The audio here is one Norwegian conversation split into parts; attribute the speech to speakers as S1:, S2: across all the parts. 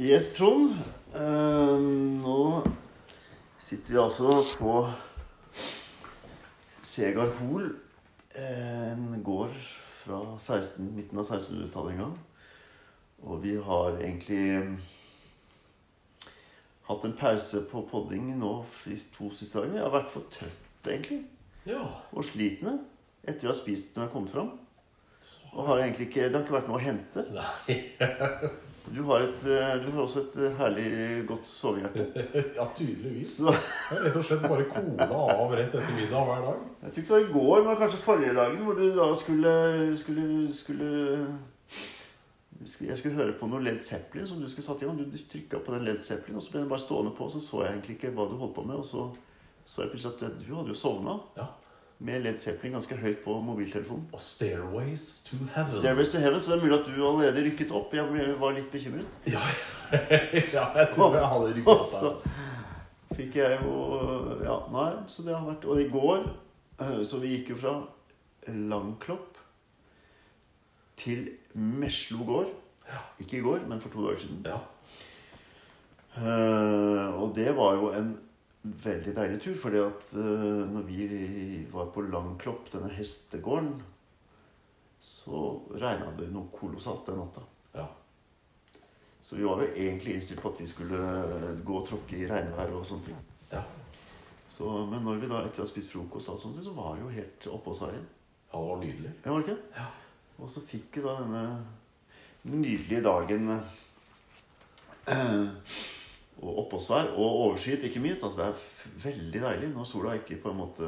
S1: Yes, Trond. Eh, nå sitter vi altså på Segar Hol. eh, En gård fra 16, midten av 1600-tallet en gang. Og vi har egentlig eh, hatt en pause på podding nå i to siste dager. Vi har vært for trøtte, egentlig.
S2: Ja.
S1: Og slitne etter vi har spist når vi har kommet fram. Og har egentlig ikke, det har ikke vært noe å hente.
S2: Nei,
S1: Du har, et, eh, du har også et eh, herlig godt sovehjerte.
S2: ja, tydeligvis.
S1: Så
S2: Jeg har rett og slett bare kola av rett etter middag hver dag.
S1: Jeg tror ikke det var i går, men kanskje forrige dagen, hvor du da skulle skulle, skulle, skulle Jeg skulle høre på noe Led Zeppelin som du skulle satt i gang. Du trykka på den Led Zeppelin, og så ble den bare stående på, og så så jeg egentlig ikke hva du holdt på med. Og så så jeg plutselig at du hadde jo sovna
S2: Ja.
S1: med Led Zeppelin ganske høyt på mobiltelefonen.
S2: Og 'Stairways to Heaven'.
S1: Stairways to heaven, så det er mulig at du allerede rykket opp. Jeg ble- var litt bekymret.
S2: ja, ja, jeg tror jeg hadde rykket opp der. Altså.
S1: Fikk jeg jo Ja, nei, så det har vært Og i går, eh, så vi gikk jo fra Langklopp til Meslo gård. Ikke i går, men for to dager siden.
S2: Ja.
S1: Eh, og det var jo en veldig deilig tur, fordi at eh, når vi var på Langklopp, denne hestegården, så regna det noe kolossalt den natta.
S2: ja.
S1: Så vi var jo egentlig innstilt på at vi skulle eh, gå og tråkke i regnvær og sånne ting.
S2: Ja.
S1: Så, men når vi da etter å ha spist frokost, og alt sånt, så var det jo helt oppå oss her igjen.
S2: Ja, det var nydelig.
S1: Ja, var det ikke?
S2: Ja.
S1: Og så fikk vi da denne nydelige dagen eh, og oppåsvær og overskyet, ikke minst. Altså, det er f- veldig deilig når sola ikke på en måte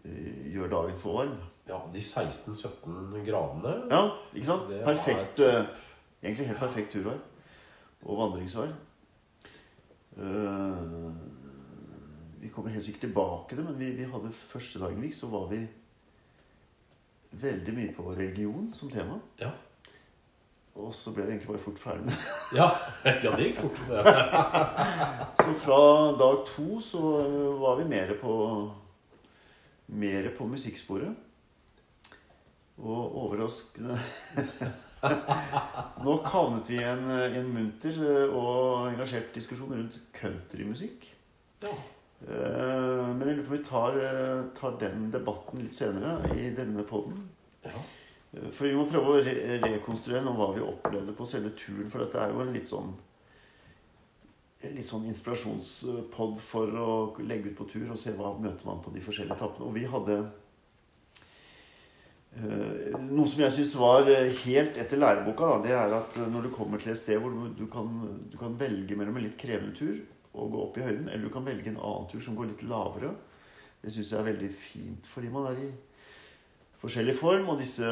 S1: eh, gjør dagen for varm.
S2: Ja, De 16-17 gradene
S1: Ja, ikke sant?
S2: Det var
S1: Perfekt,
S2: et-
S1: eh, egentlig helt perfekt turvær og vandringsvær. Eh, vi kommer helt sikkert tilbake til det, men vi, vi hadde første dagen vi gikk, så var vi veldig mye på religion som tema.
S2: Ja,
S1: Og så ble vi egentlig bare fort ferdig med det.
S2: ja. ja det gikk fort. Det.
S1: Så fra dag to så øh, var vi mer på, mer på musikksporet. Og overraskende Nå havnet vi i en, i en munter øh, og engasjert diskusjon rundt countrymusikk.
S2: Ja.
S1: Eh, Men jeg lurer på om vi tar, eh, tar den debatten litt senere i denne poden.
S2: Ja.
S1: For vi må prøve å re rekonstruere noe hva vi opplevde på selve turen. For dette er jo en litt sånn en litt sånn inspirasjonspod for å legge ut på tur og se hva møter man på de forskjellige etappene. Og vi hadde eh, noe som jeg syns var eh, helt etter læreboka, da, det er at eh, når du kommer til et sted hvor du- du kan, du kan velge mellom en litt krevende tur og gå opp i høyden, eller du kan velge en annen tur som går litt lavere, det syns jeg er veldig fint fordi man er i forskjellig form, og disse,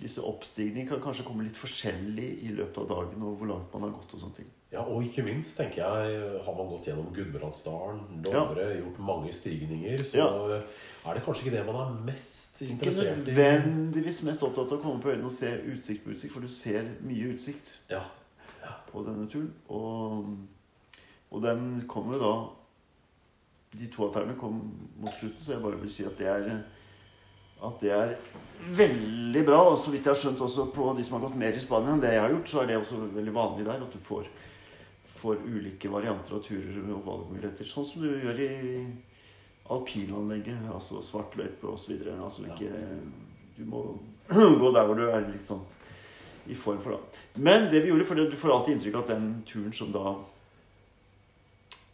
S1: disse oppstigningene kan kanskje komme litt forskjellig i løpet av dagen og hvor langt man har gått og sånne ting.
S2: Ja, Og ikke minst tenker jeg, har man gått gjennom Gudbrandsdalen, Dovre, gjort mange stigninger, så er det kanskje ikke det man er mest
S1: Ikke
S2: interessert i.
S1: nødvendigvis mest opptatt av å komme på øyene og se utsikt på utsikt, for du ser mye utsikt
S2: Ja,
S1: på denne turen. Og, og den kommer jo da De to alternene kom mot slutten, så jeg bare vil si at det er at det er veldig bra. Og så vidt jeg har skjønt også på de som har gått mer i Spania enn det jeg har gjort, så er det også veldig vanlig der at du får, får ulike varianter av turer og valgmuligheter. Sånn som du gjør i alpinanlegget, altså svart løype osv. Altså
S2: Ja.
S1: ikke Du må gå der hvor du er litt sånn i form for, da. Men det vi gjorde, for du får alltid inntrykk av at den turen som da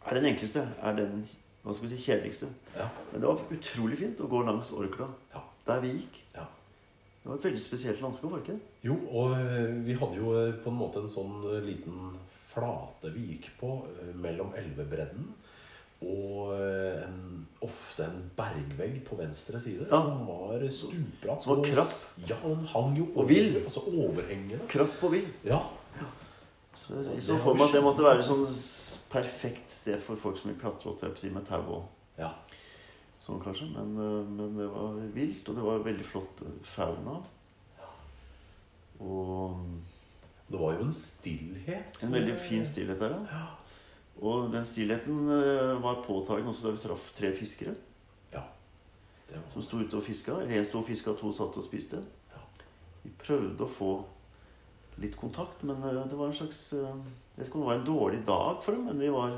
S1: er den enkleste, er den hva skal vi si, kjedeligste.
S2: ja,
S1: Men det var utrolig fint å gå langs Orkla,
S2: ja.
S1: der vi gikk.
S2: Ja.
S1: Det var et veldig spesielt landskap, var det ikke? det?
S2: Jo, og eh, vi hadde jo eh, på en måte en sånn eh, liten flate vi gikk på eh, mellom elvebredden og eh, en, ofte en bergvegg på venstre side
S1: Ja.
S2: som var stupbratt.
S1: Som var
S2: og-
S1: krapp.
S2: Ja, den hang jo
S1: Og vill.
S2: over- Altså overhengende.
S1: Krapp og vill.
S2: Ja,
S1: Så
S2: Ja,
S1: jeg
S2: det
S1: så
S2: var
S1: for meg at det måtte
S2: skjønt.
S1: være et sånn s- perfekt sted for folk som vil klatre holdt jeg på å si, med tau og
S2: ja,
S1: sånn, kanskje. Men, eh, men det var vilt, og det var veldig flott eh, fauna. Og
S2: Det var jo en stillhet.
S1: en veldig fin stillhet der, ja. Og den stillheten eh, var påtagende også da vi traff tre fiskere
S2: Ja. Det var, sånn,
S1: som sto ute og fiska. En sto og fiska, to satt og spiste.
S2: Ja.
S1: Vi prøvde å få litt kontakt. Men eh, det var en slags eh, Jeg vet ikke om det var en dårlig dag for dem, men de var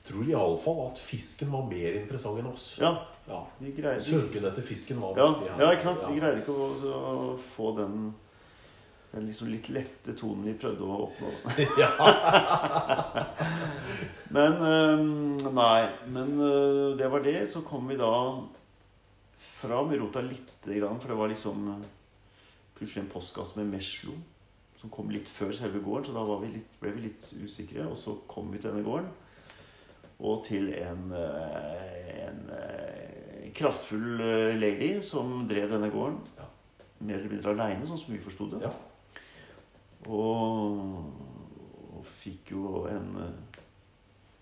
S2: Tror iallfall at fisken var mer interessant enn oss.
S1: Ja,
S2: Ja.
S1: de greide
S2: Søken etter fisken var
S1: Ja,
S2: viktig her.
S1: ja ikke sant? De
S2: Ja.
S1: greide ikke å, å få den den liksom litt lette tonen vi prøvde å oppnå.
S2: ja.
S1: Men eh, Nei. Men eh, det var det. Så kom vi da fra Murota lite grann, for det var liksom eh, plutselig en postkasse med Meslo som kom litt før selve gården, så da var vi litt, ble vi litt usikre. Og så kom vi til denne gården og til en, eh, en eh, kraftfull eh, lady som drev denne gården.
S2: Ja.
S1: Mer eller mindre aleine, sånn som vi forsto det.
S2: Ja.
S1: Og, og fikk jo en eh,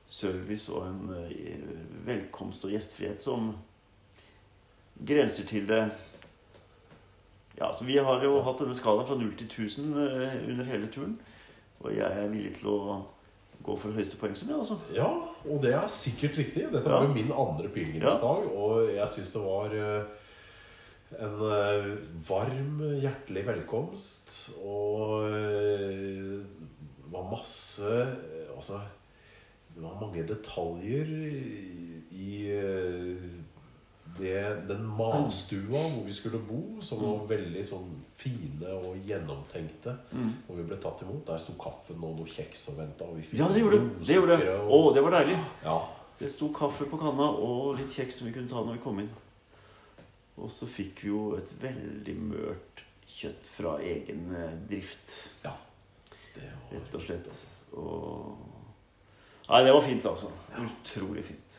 S1: service og en eh, velkomst og gjestfrihet som grenser til det Ja, så vi har jo hatt denne skalaen fra 0 til 1000 eh, under hele turen. Og jeg er villig til å gå for høyeste poengsum, jeg, altså.
S2: ja, og det er sikkert riktig. Dette
S1: Ja.
S2: var jo min andre pilegrimsdag, og jeg syns det var eh, en eh, varm, hjertelig velkomst. Og eh, det var masse eh, Altså, det var mange detaljer i, i eh, det, den matstua hvor vi skulle bo, som var veldig sånn fine og gjennomtenkte.
S1: Mm.
S2: Og vi ble tatt imot. Der sto kaffen og noe kjeks og venta. Og vi fikk
S1: Ja, det gjorde det. det. Gjorde det.
S2: blodsukkeret
S1: Å,
S2: og-
S1: det var deilig.
S2: Ja.
S1: Det sto kaffe på kanna og litt kjeks som vi kunne ta når vi kom inn. Og så fikk vi jo et veldig mørt kjøtt fra egen eh, drift,
S2: ja. Det var
S1: rett og slett. Og Nei, det var fint, altså. Utrolig fint.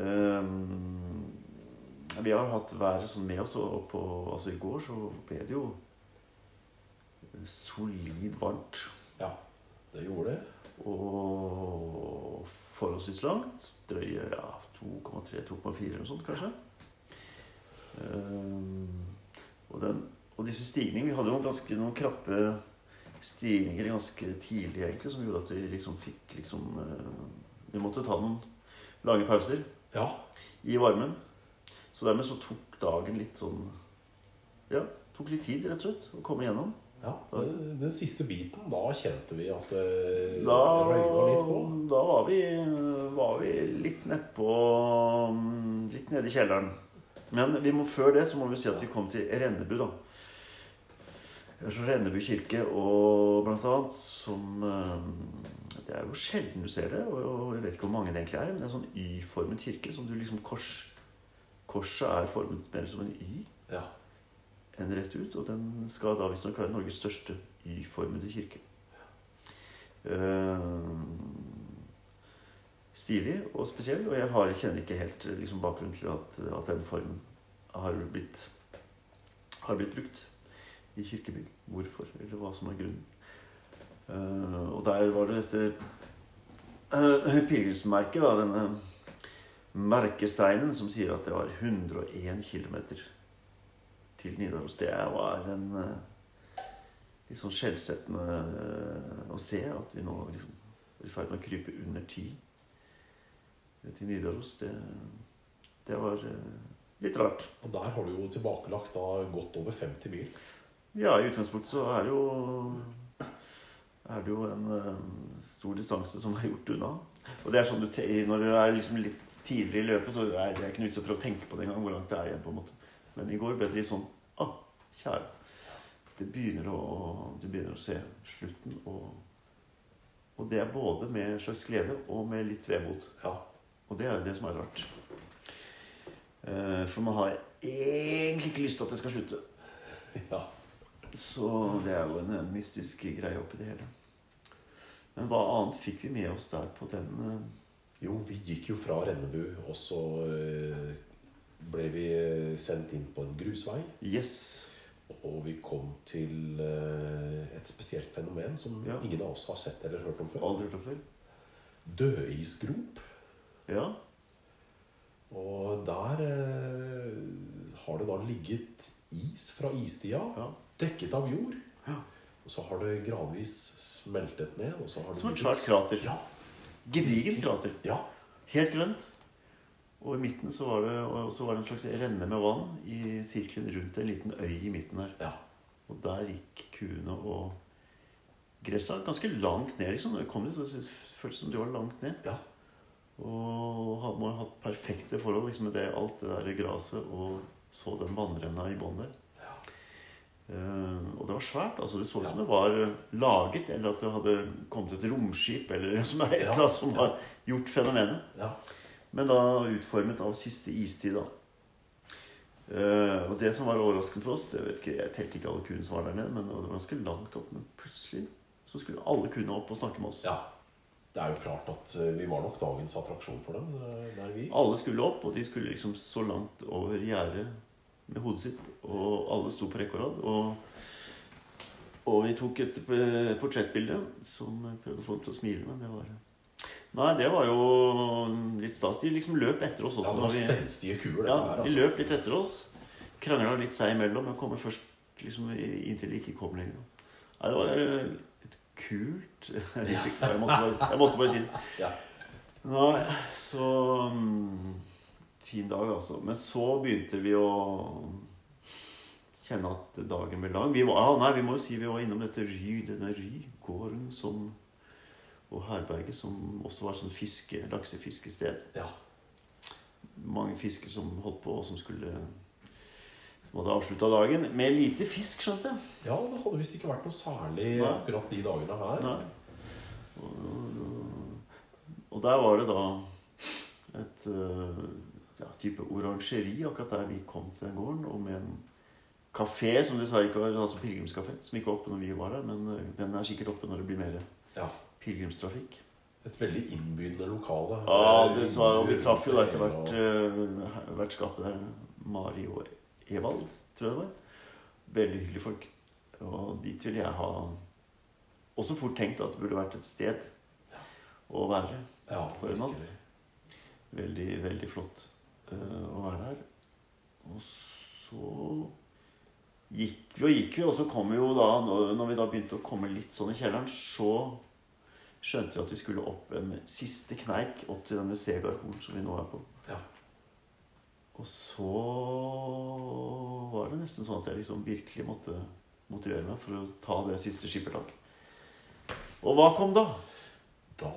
S1: Ehm, vi har hatt været sånn med oss, og på, altså i går så ble det jo eh, solid varmt.
S2: Ja, det gjorde det.
S1: Og forholdsvis langt. Drøye ja, 2,3-2,4 eller noe sånt, kanskje. Ehm, og, den, og disse stigningene Vi hadde jo ganske noen krappe stigninger ganske tidlig, egentlig, som gjorde at vi liksom fikk liksom eh, Vi måtte ta noen lange pauser
S2: Ja.
S1: i varmen. Så dermed så tok dagen litt sånn Ja, tok litt tid, rett og slett, å komme igjennom.
S2: ja. Den, den siste biten, da kjente vi at det
S1: Da,
S2: røyna litt på.
S1: da var, vi, var vi litt nedpå mm, Litt nede i kjelleren. Men vi må, før det så må vi si at vi kom til Rennebu, da. Rennebu kirke og blant annet som eh, Det er jo sjelden du ser det, og og jeg vet ikke hvor mange det egentlig er. Men det er en sånn Y-formet kirke som du liksom kors, Korset er formet mer som en Y
S2: Ja.
S1: enn rett ut, og den skal da visstnok være Norges største Y-formede kirke. Eh, stilig og spesiell, og jeg har, kjenner ikke helt eh, liksom, bakgrunnen til at, at den formen har blitt, har blitt brukt i kirkebygg. Hvorfor, eller hva som er grunnen. Eh, og der var det dette uh, pilegrimsmerket, da, denne merkesteinen, som sier at det var 101 km til Nidaros. Det var en eh, litt sånn skjellsettende eh, å se at vi nå liksom er i ferd med å krype under ti til Nidaros. Det, det var eh, litt rart.
S2: Og der har du jo tilbakelagt da godt over 50 mil.
S1: Ja, i utgangspunktet så er det jo er det jo en eh, stor distanse som er gjort unna. Og det er sånn du te Når du er liksom litt tidligere i løpet, så er det ikke noe vits i å prøve å tenke på det engang hvor langt det er igjen. på en måte. Men i går ble det litt sånn Å, kjære. Det begynner å, du begynner å se slutten, og, og det er både med en slags glede og med litt vemod.
S2: Ja.
S1: Og det er jo det som er rart. Eh, For man har egentlig ikke lyst til at det skal slutte.
S2: ja.
S1: Så det er jo en eh, mystisk greie oppi det hele. Men hva annet fikk vi med oss der på den eh,
S2: Jo, vi gikk jo fra Rennebu, og så eh, ble vi eh, sendt inn på en grusvei.
S1: Yes.
S2: Og vi kom til eh, et spesielt fenomen som
S1: Ja.
S2: ingen av oss har sett eller hørt om før.
S1: Aldri hørt om før.
S2: Dødisgrop.
S1: Ja.
S2: Og der eh, har det da ligget is fra istida,
S1: ja.
S2: dekket av jord.
S1: Ja.
S2: Og så har det gradvis smeltet ned. Og så har det
S1: Som et
S2: ligget-
S1: svært krater.
S2: Ja,
S1: Gedigent krater.
S2: ja,
S1: Helt grønt. Og i midten så var det, og så var det en slags renne med vann i sirkelen rundt en liten øy i midten her.
S2: ja.
S1: Og der gikk kuene og gresset er ganske langt ned. liksom. Når jeg kom dit, så føltes det som de var langt ned.
S2: Ja.
S1: Og har- må ha hatt perfekte forhold liksom, med det, alt det der graset og så den vannrenna i bånn der.
S2: Ja.
S1: Eh, og det var svært. altså Det så ut som
S2: Ja.
S1: det var eh, laget, eller at det hadde kommet et romskip eller som er et
S2: Ja.
S1: eller annet som
S2: Ja.
S1: har gjort fenomenet.
S2: ja.
S1: Men da utformet av siste istid, da. Eh, og det som var overraskende for oss det vet ikke, Jeg telte ikke alle kuene som var der nede, men det var ganske langt opp. Men plutselig så skulle alle kuene opp og snakke med oss.
S2: ja. Det er jo klart at eh, vi var nok dagens attraksjon for dem. eh, der vi.
S1: Alle skulle opp, og de skulle liksom så langt over gjerdet med hodet sitt. Og alle sto på rekke og rad. Og, og vi tok et eh, portrettbilde som jeg prøvde å få dem til å smile, men det var Nei, det var jo litt stas. De liksom løp etter oss
S2: Ja,
S1: også.
S2: det
S1: da
S2: var
S1: vi-
S2: spenstige kuer, dette
S1: Ja,
S2: her.
S1: de
S2: Altså.
S1: løp litt etter oss. Krangla litt seg imellom. Jeg kommer først liksom, i- inntil de ikke kom lenger. Nei, det var eh, et kult øyeblikk. Jeg måtte bare, jeg måtte bare si det.
S2: Ja.
S1: Nei, så mm, Fin dag, altså. Men så begynte vi å kjenne at dagen ble lang. Vi var, ah, nei, vi må jo si vi var innom dette Ry, denne Rygården som og herberget, som også var sånn fiske, laksefiskested
S2: Ja.
S1: mange fisker som holdt på, og som skulle som hadde avslutta dagen med lite fisk, skjønte jeg.
S2: ja, det hadde visst ikke vært noe særlig
S1: Nei.
S2: akkurat de dagene her.
S1: Nei. Og, og der var det da et øh, ja, type orangeri akkurat der vi kom til den gården, og med en kafé som dessverre ikke var altså pilegrimskafé, som ikke var oppe når vi var der, men øh, den er sikkert oppe når det blir mer
S2: Ja.
S1: pilegrimstrafikk.
S2: Et veldig innbydende lokale.
S1: Ja,
S2: Eh,
S1: det sa og Vi
S2: vinduer
S1: traff jo da
S2: rundt
S1: etter
S2: hele,
S1: hvert
S2: og-
S1: eh, vertskapet der. Mari og Evald, tror jeg det var. Veldig hyggelige folk. Og dit ville jeg ha også fort tenkt at det burde vært et sted å være.
S2: ja,
S1: for en eh, natt.
S2: virkelig.
S1: Veldig, veldig flott eh, å være der. Og så gikk vi og gikk vi, og så kom vi jo da Når når vi da begynte å komme litt sånn i kjelleren, så skjønte vi at vi skulle opp en siste kneik opp til denne Segardhorn som vi nå er på.
S2: Ja.
S1: Og så var det nesten sånn at jeg liksom virkelig måtte motivere meg for å ta det siste skippertak. Og hva kom da?
S2: Da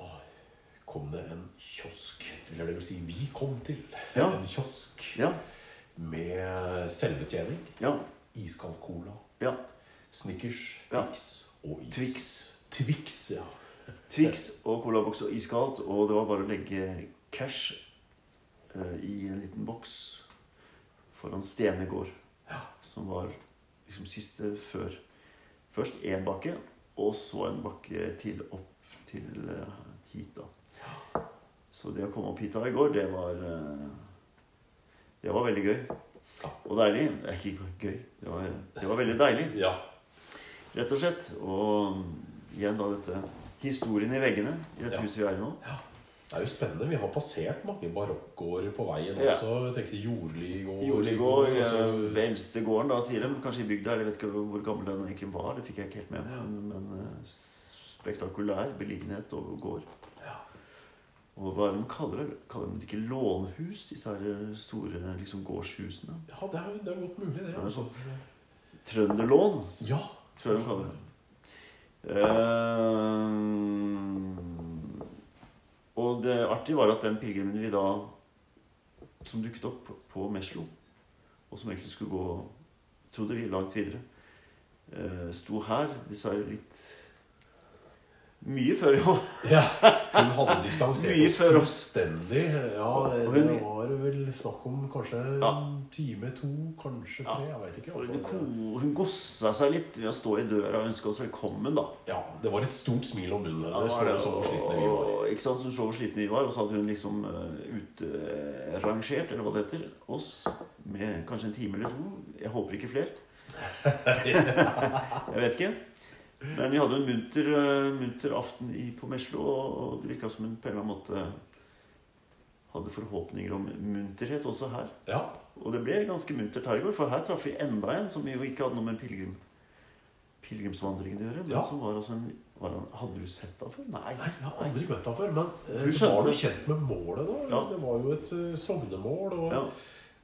S2: kom det en kiosk. Eller det vil si, vi kom til
S1: Ja.
S2: en kiosk
S1: Ja,
S2: med selvbetjening,
S1: ja,
S2: iskald cola,
S1: ja.
S2: Snickers,
S1: Ja.
S2: Twix og is.
S1: Twix.
S2: Twix, ja.
S1: Twix og colaboks og iskaldt, og det var bare å legge cash eh, i en liten boks foran Stene gård,
S2: Ja.
S1: som var liksom siste før. Først én bakke, og så en bakke til opp til eh, hit, da. Så det å komme opp hit da i går, det var eh, Det var veldig gøy.
S2: Ja.
S1: Og deilig. Det er ikke gøy. Det var, det var veldig deilig
S2: ja.
S1: rett og slett. Og igjen da dette historien i veggene i dette
S2: Ja.
S1: huset vi er i nå.
S2: Det er jo spennende. Vi har passert mange barokkgårder på veien
S1: Ja.
S2: også. Jeg tenkte jordligård
S1: Joligård,
S2: og
S1: altså
S2: så-
S1: ved eldstegården, da, sier de. Kanskje i bygda, eller jeg vet ikke hvor gammel den egentlig var. Det fikk jeg ikke helt med meg. Men, men eh, spektakulær beliggenhet og gård.
S2: Ja.
S1: Og hva er det de kaller det? Kaller de det ikke lånhus, disse her store liksom, gårdshusene?
S2: ja, det er, jo- det er godt mulig, det.
S1: er sånn.
S2: Altså.
S1: Trønderlån,
S2: Ja.
S1: tror jeg de kaller det. Ehm, og det artige var at den pilegrimen vi da Som dukket opp på Meslo, og som egentlig skulle gå, trodde vi, langt videre, eh, sto her dessverre litt mye før, jo.
S2: Ja, hun hadde distansert
S1: Mye
S2: oss
S1: før
S2: fullstendig. Ja,
S1: Og
S2: det
S1: hun-
S2: var vel snakk om kanskje
S1: Ja.
S2: en time, to, kanskje
S1: Ja.
S2: tre. Jeg veit ikke.
S1: Hun
S2: Altså.
S1: ko- Hun gossa seg litt ved å stå i døra og ønske oss velkommen, da.
S2: Ja, det var et stort smil om munnen
S1: Ja, det
S2: hennes.
S1: var det,
S2: når hun så hvor slitne vi var.
S1: og- Ikke sant, så så hvor slitne vi var, og så hadde hun liksom utrangert, eller hva det heter, oss med kanskje en time eller to. Jeg håper ikke flere. jeg vet ikke. Men vi hadde en munter, eh, munter aften i, på Meslo, og, og det virka som hun på en eller annen måte hadde forhåpninger om munterhet også her.
S2: Ja,
S1: Og det ble ganske muntert her i går, for her traff vi enda en som jo ikke hadde noe med en pilegrim, pilegrimsvandringen å gjøre. Men
S2: Ja.
S1: som var altså en var han, Hadde du sett ham før? Nei.
S2: Nei, jeg har aldri møtt ham før, men eh,
S1: Hun
S2: var
S1: skjønte.
S2: du kjent med målet, da?
S1: Ja.
S2: Det var jo et eh, sognemål. og...
S1: Ja.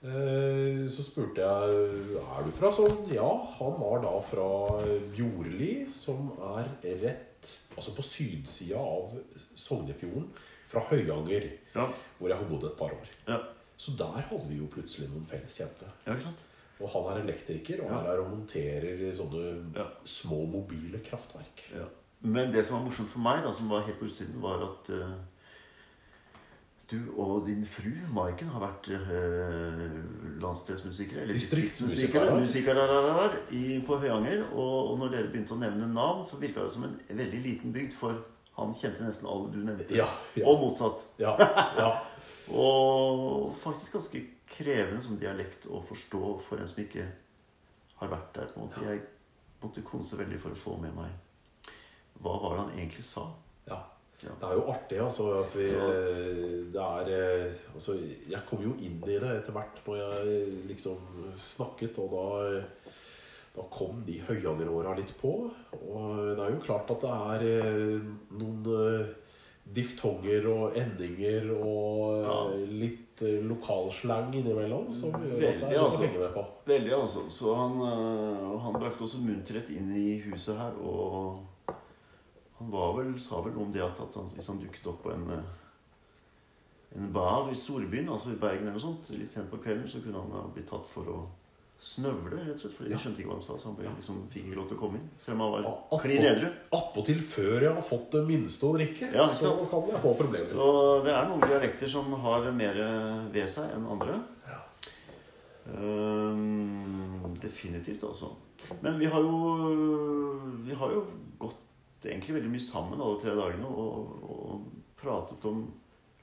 S2: Eh, Så spurte jeg er du fra Sogn. Ja, han var da fra Bjorli, som er rett altså på sydsida av Sognefjorden, fra Høyanger,
S1: Ja,
S2: hvor jeg har bodd et par år.
S1: ja.
S2: Så der hadde vi jo plutselig noen felles kjente.
S1: ja ikke sant?
S2: Og han er elektriker, og
S1: Ja.
S2: han er og monterer sånne
S1: Ja.
S2: små mobile kraftverk.
S1: Ja. Men det som var morsomt for meg, da, som var helt på utsiden, var at eh, du og din fru, Maiken, har vært eh, landsdelsmusikere. Eller
S2: Distriktsmusikere.
S1: distriktsmusikere i, på Høyanger. Og, og når dere begynte å nevne navn, så virka det som en veldig liten bygd. For han kjente nesten alle du nevnte.
S2: Ja, ja.
S1: Og motsatt.
S2: Ja, ja.
S1: Og faktisk ganske krevende som dialekt å forstå for en som ikke har vært der. på en måte. Jeg måtte konse veldig for å få med meg hva var det han egentlig sa.
S2: ja.
S1: Ja.
S2: Det er jo artig, altså, at vi eh, Det er eh, Altså, jeg kom jo inn i det etter hvert når jeg liksom snakket, og da eh, da kom de høyangeråra litt på. Og det er jo klart at det er eh, noen eh, diftonger og endinger og eh, litt eh, lokalslang innimellom som gjør at det er
S1: Veldig,
S2: litt å
S1: altså.
S2: henge med på.
S1: Veldig, altså. Så han, øh, han brakte også munterhet inn i huset her, og han var vel, sa vel om det at, at han, hvis han dukket opp på en, øh, en bar i storbyen, altså i Bergen eller noe sånt, litt sent på kvelden, så kunne han ha blitt tatt for å snøvle, rett og slett. Fordi
S2: Ja.
S1: de skjønte ikke hva han sa, så han ble, liksom, fikk ikke lov til å komme inn. Selv om han
S2: Ja,
S1: var klin edru.
S2: Attpåtil før jeg har fått det minste å drikke,
S1: Ja, ikke
S2: så
S1: sant?
S2: kan jeg få problemer.
S1: Så det er noen dialekter som har mer ved seg enn andre. Ehm, definitivt, altså. Men vi har jo Vi har jo gått egentlig veldig mye sammen alle tre dagene og, og pratet om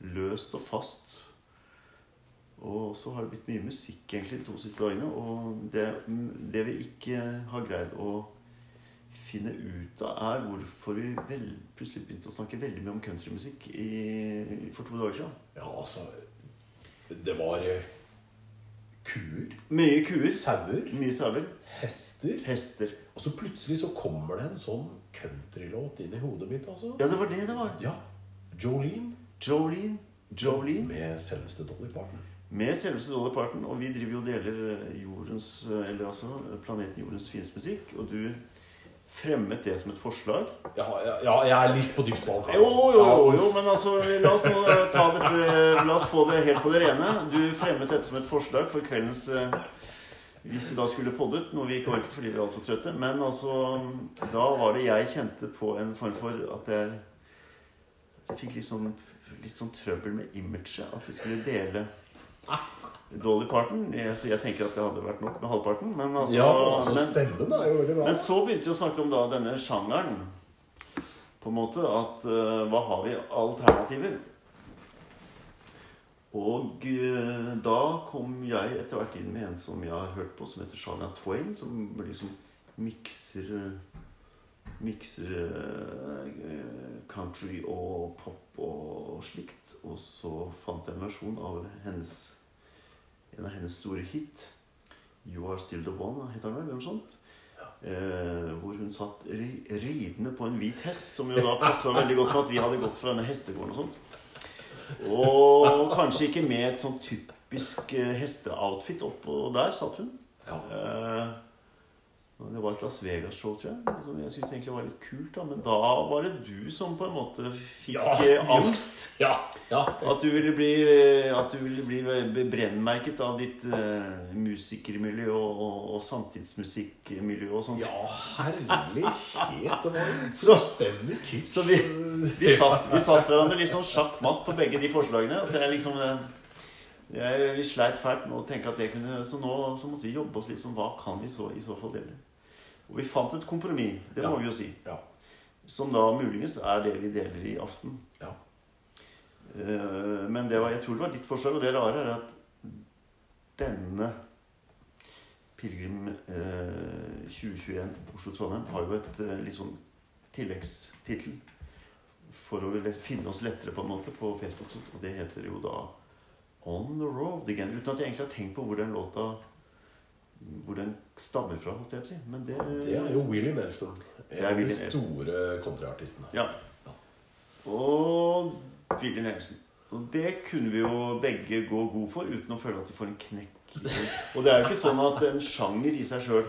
S1: løst og fast. Og så har det blitt mye musikk egentlig de to siste dagene. Og det, det vi ikke har greid å finne ut av, er hvorfor vi vel, plutselig begynte å snakke veldig mye om countrymusikk i, for to dager siden.
S2: Ja, altså Det var eh, kuer,
S1: Mye kuer,
S2: sauer,
S1: mye sauer,
S2: hester
S1: hester.
S2: Og så plutselig så kommer det en sånn countrylåt inn i hodet mitt, altså.
S1: Ja, det var det det var.
S2: Ja. Jolene
S1: Jolene, Jolene
S2: med selveste Dolly Parton.
S1: med selveste Dolly Parton. Og vi driver jo og deler jordens, eller altså planeten Jordens fineste musikk. Og du fremmet det som et forslag.
S2: Ja, ja, ja, jeg er litt på dypt vann. her.
S1: Jo, jo,
S2: Ja,
S1: jo, men altså, la oss nå eh, ta dette La oss få det helt på det rene. Du fremmet dette som et forslag for kveldens eh, Hvis vi da skulle poddet, noe vi ikke orket fordi vi var altfor trøtte. Men altså, da var det jeg kjente på en form for at jeg, at jeg fikk litt sånn, litt sånn trøbbel med imaget. At vi skulle dele
S2: Ah.
S1: Dolly Parton. Jeg, så jeg tenker at det hadde vært nok med halvparten, men altså,
S2: ja, altså
S1: men,
S2: Stemmen er jo veldig bra.
S1: men så begynte vi å snakke om da denne sjangeren. På en måte at eh, hva har vi av alternativer? Og eh, da kom jeg etter hvert inn med en som jeg har hørt på, som heter Shania Twain. Som liksom mikser eh, Mikser eh, country og pop og slikt. Og så fant jeg en versjon av hennes en av hennes store hit. 'You Are Still The One', heter den vel? Eller noe sånt. Eh, hvor hun satt ri ridende på en hvit hest, som jo da passa veldig godt med at vi hadde gått fra denne hestegården og sånt. Og kanskje ikke med et sånn typisk eh, hesteoutfit oppå der, satt hun.
S2: Ja.
S1: Eh, det var et Las Vegas-show, tror jeg, som jeg syntes egentlig var litt kult. da, Men da var det du som på en måte fikk
S2: Ja.
S1: eh, angst.
S2: Ja, ja.
S1: At du ville bli, at du ville bli brennmerket av ditt eh, musikermiljø og, og, og samtidsmusikkmiljø og sånn. sånt.
S2: ja herlighet, det var en
S1: Så-
S2: fullstendig kitsch.
S1: Så vi, vi, satt, vi satt hverandre litt sånn sjakk matt på begge de forslagene. At jeg liksom eh, jeg, Vi sleit fælt med å tenke at det kunne Så nå så måtte vi jobbe oss litt sånn Hva kan vi så i så fall dele? Og vi fant et kompromiss, det må
S2: Ja.
S1: vi jo si.
S2: Ja,
S1: Som da muligens er det vi deler i aften.
S2: ja.
S1: Eh, Men det var, jeg tror det var ditt forslag, og det rare er at denne Pilegrim eh, 2021 Oslo-Trondheim har jo et eh, litt sånn tilleggstittel for å le- finne oss lettere på en måte på Facebook, og sånt, og det heter jo da On the Road Again. Uten at jeg egentlig har tenkt på hvor den låta hvor den stammer fra, holdt jeg på å si. Men det,
S2: Det er jo Willie Nelson.
S1: Det er
S2: En av de
S1: Willie Nelson.
S2: store countryartistene.
S1: Ja. Og Willy Nelson. Og det kunne vi jo begge gå god for uten å føle at vi får en knekk Og det er jo ikke sånn at en sjanger i seg sjøl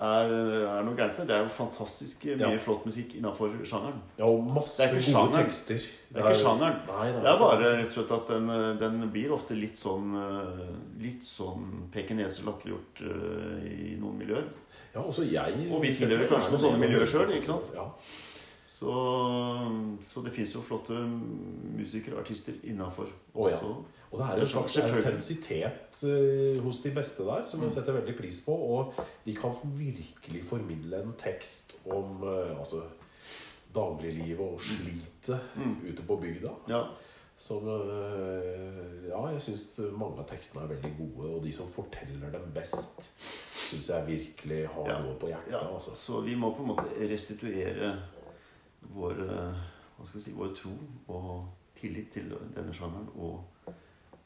S1: er, er noe gærent med. Det er jo fantastisk mye
S2: Ja.
S1: flott musikk innafor sjangeren.
S2: Ja, og masse
S1: Det er
S2: gode
S1: ikke sjangeren.
S2: tekster.
S1: Det er ikke sjangeren.
S2: Nei,
S1: Det er bare rett og slett at den, eh, den blir ofte litt sånn eh, Litt sånn pekineser latterliggjort eh, i noen miljøer.
S2: Ja, også jeg
S1: Og vi tilhører kanskje noen sånne miljøer selv, ikke sant?
S2: Ja.
S1: Så, så det fins jo flotte musikere og artister innafor.
S2: Å, ja.
S1: Så-
S2: Og det er en slags
S1: Selvfølgelig. Mm.
S2: autentisitet eh, hos de beste der som jeg setter veldig pris på. Og de kan virkelig formidle en tekst om eh, altså, dagliglivet og slitet ute på bygda.
S1: Mm. ja.
S2: Som eh, Ja, jeg syns mange av tekstene er veldig gode. Og de som forteller dem best, syns jeg virkelig har
S1: Ja.
S2: noe på hjertet.
S1: Ja,
S2: Altså.
S1: så vi må på en måte restituere vår, eh, hva skal vi si, vår tro og tillit til denne sjangeren og,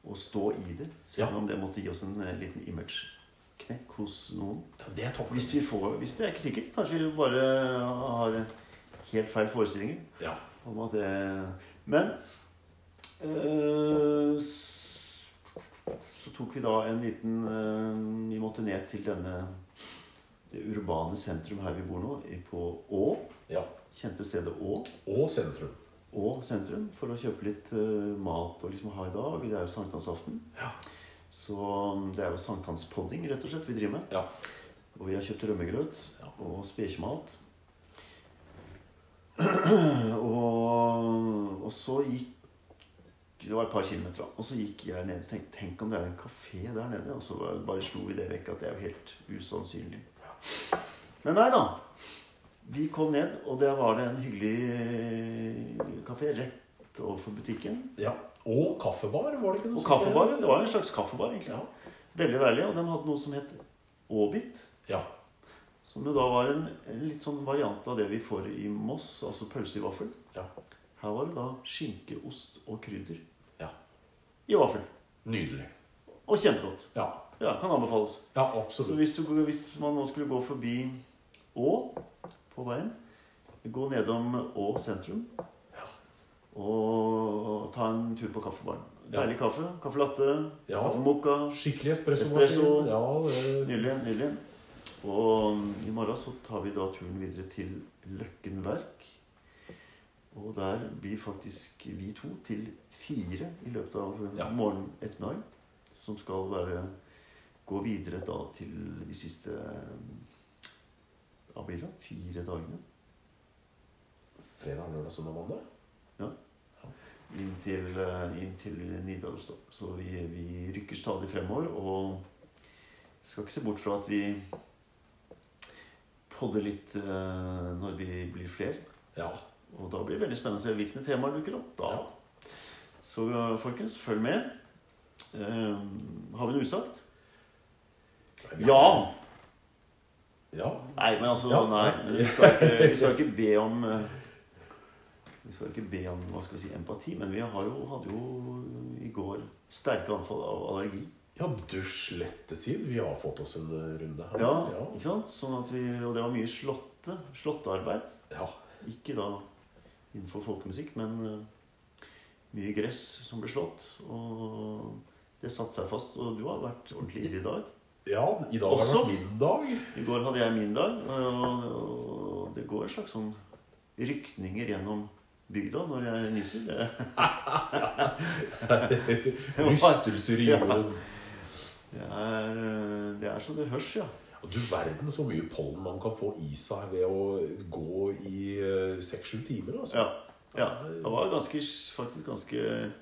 S1: og stå i det, selv
S2: Ja.
S1: om det måtte gi oss en eh, liten image-knekk hos noen.
S2: Ja, Det er topp.
S1: Hvis vi får, hvis det er ikke sikkert, kanskje vi bare har helt feil forestillinger
S2: Ja.
S1: om at det Men eh, s- så tok vi da en liten eh, Vi måtte ned til denne det urbane sentrum her vi bor nå, i- på Å.
S2: ja.
S1: Kjente stedet Å.
S2: Og sentrum.
S1: Å sentrum for å kjøpe litt eh, mat og liksom ha i dag. Det er jo sankthansaften.
S2: Ja.
S1: Så mm, det er jo sankthanspodding rett og slett vi driver med.
S2: Ja.
S1: Og vi har kjøpt rømmegrøt
S2: Ja.
S1: og spekemalt. og, og så gikk Det var et par kilometer, da. Og så gikk jeg ned og tenkte Tenk om det er en kafé der nede? Og så bare- bare slo vi det vekk at det er jo helt usannsynlig. Men nei da. Vi kom ned, og der var det en hyggelig eh, kafé rett overfor butikken.
S2: ja. Og kaffebar, var det ikke noe
S1: Og
S2: som-
S1: kaffebar. Det var en slags kaffebar, egentlig.
S2: Ja.
S1: Veldig deilig. Og de hadde noe som het Aabit.
S2: ja.
S1: Som jo da var en, en litt sånn variant av det vi får i Moss, altså pølse i vaffel.
S2: Ja.
S1: Her var det da skinke, ost og krydder
S2: ja.
S1: i vaffel.
S2: Nydelig.
S1: Og kjempegodt.
S2: Ja.
S1: Ja, kan anbefales.
S2: Ja,
S1: Så
S2: absolutt.
S1: hvis, du, hvis man nå skulle gå forbi Å på veien, gå nedom Å sentrum
S2: Ja.
S1: og ta en tur på kaffebaren.
S2: Ja.
S1: Deilig kaffe. Kaffe latte,
S2: Ja.
S1: kaffe mokka.
S2: Skikkelig espresso.
S1: Espresso.
S2: Ja, det...
S1: Nydelig. Nydelig. Og mm, i morgen så tar vi da turen videre til Løkken Verk. Og der blir faktisk vi to til fire i løpet av
S2: Ja.
S1: morgen ettermiddag. Som skal være gå videre da til de siste eh, Hva blir det? Fire dagene?
S2: Fredag, lørdag, søndag, mandag.
S1: Inn til, eh, inn til Nidaros, da. Så vi, vi rykker stadig fremover. Og skal ikke se bort fra at vi podder litt eh, når vi blir flere.
S2: Ja.
S1: Og da blir det veldig spennende å se hvilke temaer dukker opp da.
S2: Ja.
S1: Så eh, folkens, følg med. Eh, har vi noe usagt? Ja!
S2: Ja.
S1: Nei, men altså
S2: Ja.
S1: Nei. Men vi, skal ikke, vi skal ikke be om eh, Vi skal ikke be om hva skal vi si, empati, men vi har jo, hadde jo i går sterke anfall av allergi.
S2: Ja, du slette tid. Vi har fått oss en eh, runde her.
S1: Ja,
S2: Ja.
S1: ikke sant? Sånn at vi, og det var mye slåtte, slåttearbeid.
S2: ja.
S1: Ikke da innenfor folkemusikk, men eh, mye gress som ble slått. Og det satte seg fast. Og du har vært ordentlig ivrig i dag.
S2: Ja, i dag har det
S1: Også-
S2: vært min dag.
S1: I går hadde jeg min dag, og og det går en slags sånn rykninger gjennom bygda når jeg nyser. Det,
S2: Rystelser i
S1: Ja.
S2: jorden.
S1: det, er, eh, det er så det hørs, ja.
S2: Og Du verden så mye pollen man kan få i seg ved å gå i eh, seks-sju timer. Altså.
S1: Ja. ja. Jeg var ganske, faktisk ganske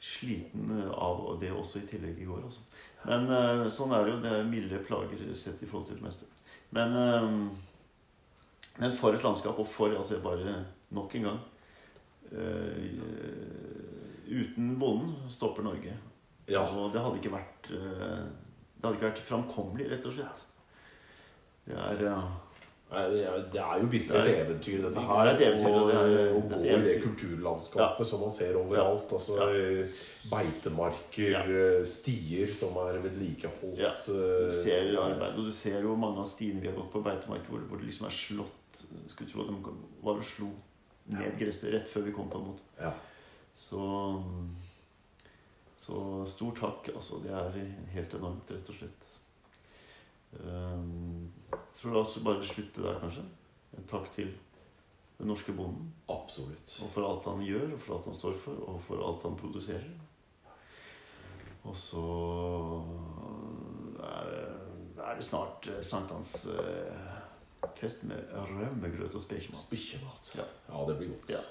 S1: sliten eh, av det også i tillegg i går. Altså. Men eh, sånn er det jo. Det er mildere plager sett i forhold til det meste. Men, eh, men for et landskap, og for altså jeg bare nok en gang eh, Uten bonden stopper Norge.
S2: Ja.
S1: Og det hadde ikke vært eh, Det hadde ikke vært framkommelig, rett og slett. Det er eh,
S2: Nei, Det er det er jo virkelig
S1: Det
S2: et
S1: er-
S2: eventyr, dette
S1: det
S2: her.
S1: er et eventyr,
S2: og,
S1: det er- det er
S2: og gå
S1: et
S2: i det
S1: eventyr.
S2: kulturlandskapet som man ser overalt. Altså
S1: Ja.
S2: eh, beitemarker,
S1: Ja.
S2: eh, stier som er vedlikeholdt.
S1: Ja. Du
S2: eh,
S1: ser jo arbeid, og du ser jo mange av stiene vi har gått på beitemarker, hvor, hvor det liksom er slått Skulle tro at de kom- var og slo ned gresset rett før vi kom, på en måte.
S2: Ja.
S1: Så Så stor takk, altså. Det er helt enormt, rett og slett. Ehm, tror du altså bare slutte der, kanskje? En takk til den norske bonden.
S2: Absolutt.
S1: Og for alt han gjør, og for alt han står for, og for alt han produserer. Og så er det- er det snart eh, sankthansfest med rømmegrøt og spekemat.
S2: Spikkjemat.
S1: Ja.
S2: Ja. det blir godt.
S1: Ja.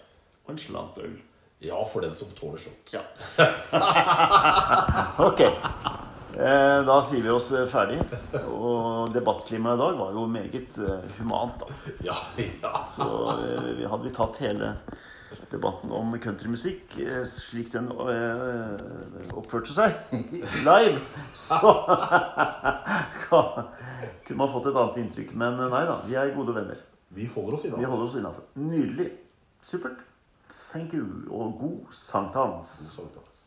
S1: Og en slant øl.
S2: Ja, for den som tåler sånt.
S1: Ja. ok. Eh, Da sier vi oss eh, ferdig. Og debattklimaet i dag var jo meget eh, humant, da.
S2: Ja, ja.
S1: Så
S2: altså.
S1: eh, vi- hadde vi tatt hele debatten om countrymusikk eh, slik den eh, oppførte seg live, så kunne man fått et annet inntrykk. Men eh, nei da, vi er gode venner.
S2: Vi holder oss
S1: Vi
S2: innafor.
S1: holder oss innafor. Nydelig. Supert. Thank you, og god sankthans.
S2: Sånn, altså.